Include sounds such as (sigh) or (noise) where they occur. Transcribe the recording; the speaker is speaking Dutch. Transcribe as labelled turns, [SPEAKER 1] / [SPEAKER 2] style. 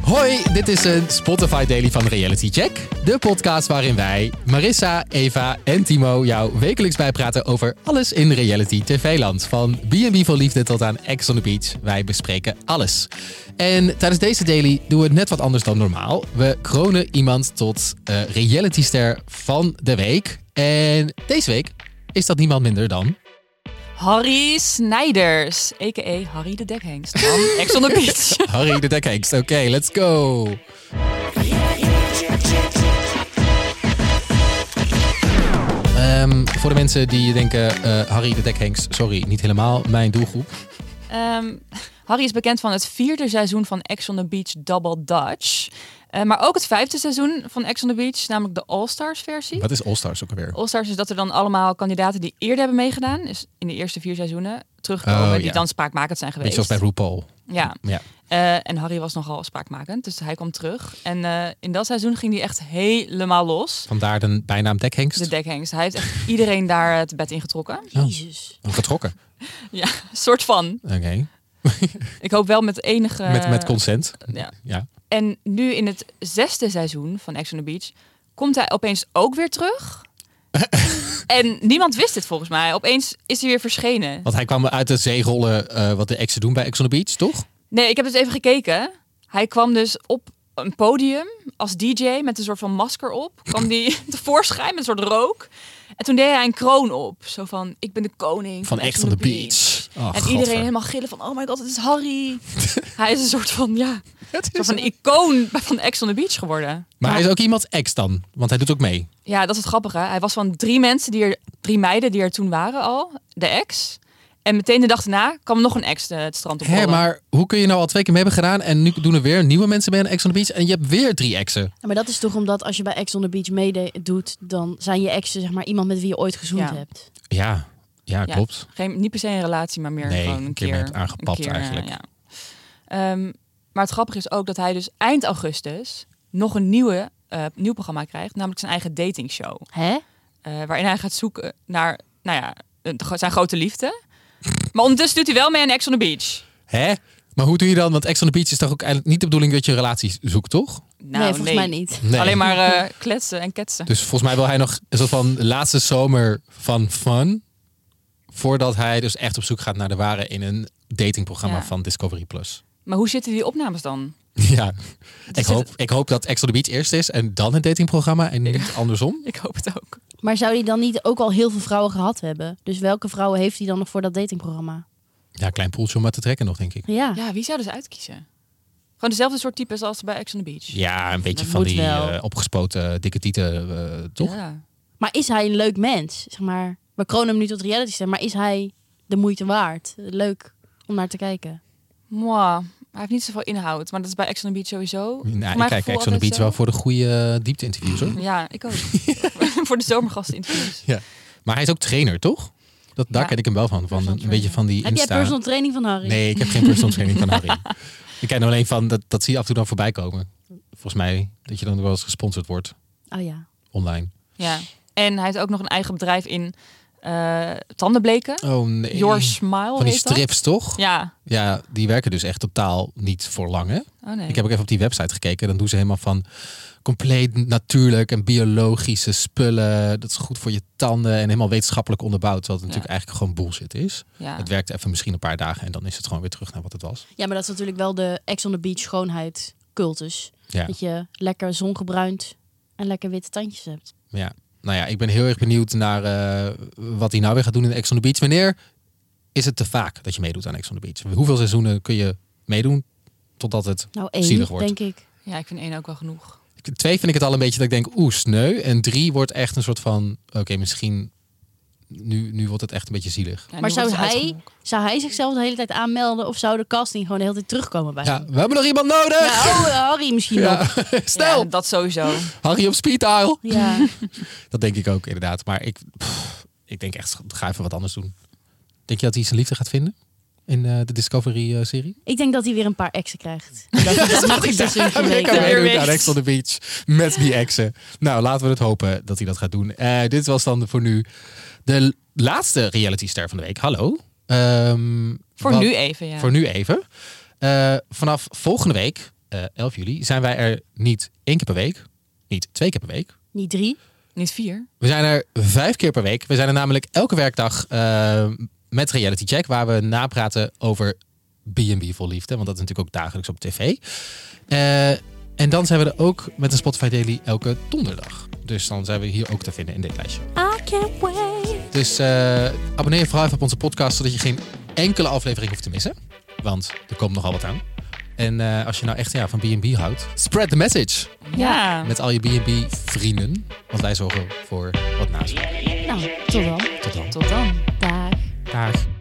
[SPEAKER 1] Hoi, dit is een Spotify Daily van Reality Check. De podcast waarin wij, Marissa, Eva en Timo jou wekelijks bijpraten over alles in reality tv-land. Van B&B voor Liefde tot aan Ex on the Beach. Wij bespreken alles. En tijdens deze daily doen we het net wat anders dan normaal. We kronen iemand tot eh realityster van de week. En deze week is dat niemand minder dan...
[SPEAKER 2] Harry Snijders, a.k.a. Harry de Dekhengst van (laughs) Ex on the Beach.
[SPEAKER 1] Harry de Dekhengst. Oké, let's go. Ehm, voor de mensen die denken, eh, Harry de Dekhengst, sorry, niet helemaal mijn doelgroep.
[SPEAKER 2] Ehm, Harry is bekend van het vierde seizoen van Ex on the Beach Double Dutch. Eh, maar ook het vijfde seizoen van Ex on the Beach, namelijk de All-Stars versie.
[SPEAKER 1] Wat is All Stars ook alweer?
[SPEAKER 2] All-Stars is dat er dan allemaal kandidaten die eerder hebben meegedaan, dus in de eerste vier seizoenen, terugkomen.
[SPEAKER 1] Oh, ja.
[SPEAKER 2] Die dan spraakmakend zijn
[SPEAKER 1] Beetje
[SPEAKER 2] geweest.
[SPEAKER 1] zoals bij RuPaul.
[SPEAKER 2] Ja.
[SPEAKER 1] Ja.
[SPEAKER 2] Eh, en Harry was nogal spraakmakend, dus hij kwam terug. En eh, in dat seizoen ging hij echt helemaal los.
[SPEAKER 1] Vandaar de bijnaam Dekhengst.
[SPEAKER 2] De dekhengst. Hij heeft echt iedereen daar het bed in getrokken.
[SPEAKER 1] Oh.
[SPEAKER 3] Jezus.
[SPEAKER 1] Getrokken.
[SPEAKER 2] Ja, soort van.
[SPEAKER 1] Oké.
[SPEAKER 2] Ik hoop wel met enige...
[SPEAKER 1] Met, met consent.
[SPEAKER 2] ja.
[SPEAKER 1] Ja.
[SPEAKER 2] En nu in het zesde seizoen van Ex on the Beach... komt hij opeens ook weer
[SPEAKER 1] (laughs)
[SPEAKER 2] terug. en niemand wist dit volgens mij. Opeens is hij weer verschenen.
[SPEAKER 1] Want hij kwam uit de zeerollen eh, wat de exen doen bij Ex on the Beach, toch?
[SPEAKER 2] Nee, ik heb dus even gekeken. Hij kwam dus op een podium als DJ met een soort van masker op. Kwam die
[SPEAKER 1] (laughs)
[SPEAKER 2] tevoorschijn met een soort rook. En toen deed hij een kroon op. Zo van, ik ben de koning
[SPEAKER 1] Van
[SPEAKER 2] van,
[SPEAKER 1] Ex on the Beach. Oh,
[SPEAKER 2] en
[SPEAKER 1] godver.
[SPEAKER 2] iedereen helemaal gillen van, oh my god, het is
[SPEAKER 1] (laughs)
[SPEAKER 2] Harry. hij is een soort van, ja,
[SPEAKER 1] Het is
[SPEAKER 2] soort van
[SPEAKER 1] een-
[SPEAKER 2] icoon van Ex on the Beach geworden.
[SPEAKER 1] Maar hij is ook iemand ex dan, want hij doet ook mee.
[SPEAKER 2] Ja, dat is het grappige. Hij was van drie mensen, die er, drie meiden die er toen waren al, de ex. En meteen de dag daarna kwam nog een ex eh, het strand op.
[SPEAKER 1] Hé, maar hoe kun je nou al twee keer mee hebben gedaan en nu doen er weer nieuwe mensen bij een ex on the beach en je hebt weer drie exen?
[SPEAKER 3] Ja, maar dat is toch omdat als je bij Ex on the Beach meedoet, dan zijn je exen zeg maar iemand met wie je ooit gezoend
[SPEAKER 2] Ja.
[SPEAKER 3] hebt.
[SPEAKER 1] Ja, ja,
[SPEAKER 2] Ja.
[SPEAKER 1] klopt.
[SPEAKER 2] Geen, niet per se een relatie, maar meer
[SPEAKER 1] Nee,
[SPEAKER 2] gewoon
[SPEAKER 1] een
[SPEAKER 2] een
[SPEAKER 1] keer
[SPEAKER 2] keer,
[SPEAKER 1] mee hebt aangepapt
[SPEAKER 2] een keer, eh,
[SPEAKER 1] eigenlijk.
[SPEAKER 2] ja. Ehm, maar het grappige is ook dat hij dus eind augustus nog een nieuwe, eh, nieuw programma krijgt. Namelijk zijn eigen datingshow.
[SPEAKER 3] Hè?
[SPEAKER 2] Eh, waarin hij gaat zoeken naar, nou ja, de gro- zijn grote liefde. Maar ondertussen doet hij wel mee aan Ex on the Beach.
[SPEAKER 1] Hè? Maar hoe doe je dan? Want ex on the beach is toch ook eigenlijk niet de bedoeling dat je een relatie zoekt, toch?
[SPEAKER 2] Nou,
[SPEAKER 3] nee, volgens mij niet.
[SPEAKER 1] Nee.
[SPEAKER 2] Alleen maar eh,
[SPEAKER 1] (laughs)
[SPEAKER 2] kletsen en ketsen.
[SPEAKER 1] Dus volgens mij wil hij nog een soort van laatste zomer van fun. Voordat hij dus echt op zoek gaat naar de ware in een datingprogramma
[SPEAKER 2] Ja.
[SPEAKER 1] van Discovery Plus.
[SPEAKER 2] Maar hoe zitten die opnames
[SPEAKER 1] (laughs)
[SPEAKER 2] dan?
[SPEAKER 1] Ja, ik
[SPEAKER 2] zit-
[SPEAKER 1] hoop, ik hoop dat Ex on the Beach eerst is en dan het datingprogramma en niet andersom.
[SPEAKER 2] Ik hoop het ook.
[SPEAKER 3] Maar zou die dan niet ook al heel veel vrouwen gehad hebben? Dus welke vrouwen heeft hij dan nog voor dat datingprogramma?
[SPEAKER 1] Ja, klein poeltje om maar te trekken nog, denk ik.
[SPEAKER 3] Ja.
[SPEAKER 2] Ja, wie zou dus uitkiezen? Gewoon dezelfde soort types als bij Ex on the Beach.
[SPEAKER 1] Ja, een beetje
[SPEAKER 3] Dat
[SPEAKER 1] van
[SPEAKER 3] moet
[SPEAKER 1] die
[SPEAKER 3] wel.
[SPEAKER 1] eh, opgespoten dikke tieten, eh, toch?
[SPEAKER 2] Ja.
[SPEAKER 3] Maar is hij een leuk mens? Zeg maar, we kronen hem nu tot reality star, maar is hij de moeite waard? Leuk om naar te kijken.
[SPEAKER 2] Mwah. Hij heeft niet zoveel inhoud, maar dat is bij Ex on the Beach sowieso. Voor
[SPEAKER 1] Nou, ik
[SPEAKER 2] mijn
[SPEAKER 1] kijk
[SPEAKER 2] gevoel
[SPEAKER 1] Ex on the
[SPEAKER 2] altijd
[SPEAKER 1] Beach wel
[SPEAKER 2] zo.
[SPEAKER 1] voor de goede eh, diepte-interviews, hoor.
[SPEAKER 2] Ja,
[SPEAKER 1] (laughs)
[SPEAKER 2] ik ook. voor de zomergastinterviews.
[SPEAKER 1] Maar hij is ook trainer, toch? Dat, daar
[SPEAKER 2] Ja.
[SPEAKER 1] ken ik hem wel van, van
[SPEAKER 2] Personal
[SPEAKER 1] een beetje van die
[SPEAKER 3] Heb jij
[SPEAKER 1] Insta.
[SPEAKER 3] personal training van Harry?
[SPEAKER 1] Nee, ik heb geen personal training van Harry.
[SPEAKER 3] (laughs)
[SPEAKER 1] Ik ken hem alleen van, dat, dat zie je af en toe dan voorbij komen. Volgens mij dat je dan wel eens gesponsord wordt
[SPEAKER 3] Oh ja.
[SPEAKER 1] online.
[SPEAKER 2] Ja. En hij heeft ook nog een eigen bedrijf in eh, tandenbleken.
[SPEAKER 1] Oh nee.
[SPEAKER 2] Your Smile
[SPEAKER 1] van die
[SPEAKER 2] heet dat.
[SPEAKER 1] strips, toch?
[SPEAKER 2] Ja.
[SPEAKER 1] Ja, die werken dus echt totaal niet voor lang, hè?
[SPEAKER 2] Oh nee.
[SPEAKER 1] Ik heb ook even op die website gekeken. Dan doen ze helemaal van compleet natuurlijk en biologische spullen. Dat is goed voor je tanden en helemaal wetenschappelijk onderbouwd. Wat natuurlijk eigenlijk gewoon bullshit is.
[SPEAKER 2] ja.
[SPEAKER 1] Het werkt even misschien een paar dagen en dan is het gewoon weer terug naar wat het was.
[SPEAKER 3] Ja, maar dat is natuurlijk wel de Ex on the Beach schoonheid cultus.
[SPEAKER 1] Ja.
[SPEAKER 3] Dat je lekker zongebruind en lekker witte tandjes hebt.
[SPEAKER 1] Ja. Nou ja, ik ben heel erg benieuwd naar eh, wat hij nou weer gaat doen in Ex on the Beach. Wanneer is het te vaak dat je meedoet aan Ex on the Beach? Hoeveel seizoenen kun je meedoen totdat het...
[SPEAKER 3] Nou, één,
[SPEAKER 1] Zielig wordt.
[SPEAKER 3] denk ik.
[SPEAKER 2] ja, ik vind één ook wel genoeg.
[SPEAKER 1] Twee vind ik het al een beetje dat ik denk, oeh, sneu. En drie wordt echt een soort van, oké, misschien... Nu, nu wordt het echt een beetje zielig.
[SPEAKER 2] Ja, nu
[SPEAKER 3] Maar zou
[SPEAKER 2] wordt het
[SPEAKER 3] hij-
[SPEAKER 2] uitgemolken.
[SPEAKER 3] Zou hij zichzelf de hele tijd aanmelden of zou de casting gewoon de hele tijd terugkomen bij
[SPEAKER 1] Ja,
[SPEAKER 3] hem?
[SPEAKER 1] we hebben nog iemand nodig!
[SPEAKER 3] Ja, oh, Harry misschien nog.
[SPEAKER 1] Ja. (laughs) Snel!
[SPEAKER 2] Ja,
[SPEAKER 1] (gasps)
[SPEAKER 2] dat sowieso.
[SPEAKER 1] Harry op speed dial. (laughs)
[SPEAKER 3] Ja.
[SPEAKER 1] Dat denk ik ook inderdaad. Maar ik, pff, ik denk echt, ga even wat anders doen. Denk je dat hij zijn liefde gaat vinden? In eh, de Discovery-serie?
[SPEAKER 3] Ik denk dat hij weer een paar exen krijgt. Dat
[SPEAKER 1] (laughs)
[SPEAKER 3] hij dat nog eens tussen
[SPEAKER 1] Ja,
[SPEAKER 3] kan
[SPEAKER 1] ik kan
[SPEAKER 3] weten.
[SPEAKER 2] weer
[SPEAKER 1] meedoen
[SPEAKER 2] weet.
[SPEAKER 1] aan Ex on the Beach met die exen. Nou, laten we het hopen dat hij dat gaat doen. Eh, dit was dan voor nu de laatste realityster van de week. Hallo. Ehm,
[SPEAKER 2] Voor
[SPEAKER 1] wat-
[SPEAKER 2] nu even, ja.
[SPEAKER 1] Voor nu even. Eh, vanaf volgende week eh, 11 juli zijn wij er niet één keer per week, niet twee keer per week.
[SPEAKER 3] Niet drie.
[SPEAKER 2] Niet vier.
[SPEAKER 1] We zijn er vijf keer per week. We zijn er namelijk elke werkdag eh, met Reality Check, waar we napraten over B&B vol liefde. Want dat is natuurlijk ook dagelijks op tv. Eh, en dan zijn we er ook met de Spotify Daily elke donderdag. Dus dan zijn we hier ook te vinden in dit lijstje.
[SPEAKER 3] I can't wait.
[SPEAKER 1] Dus eh, abonneer je vooral even op onze podcast, zodat je geen enkele aflevering hoeft te missen. Want er komt nogal wat aan. En eh, als je nou echt ja, van B&B houdt, spread the message
[SPEAKER 2] Ja.
[SPEAKER 1] met al je B&B vrienden. Want wij zorgen voor wat naast.
[SPEAKER 3] Nou, tot dan.
[SPEAKER 1] Tot dan.
[SPEAKER 2] Tot dan.
[SPEAKER 3] Dag.
[SPEAKER 1] Dag.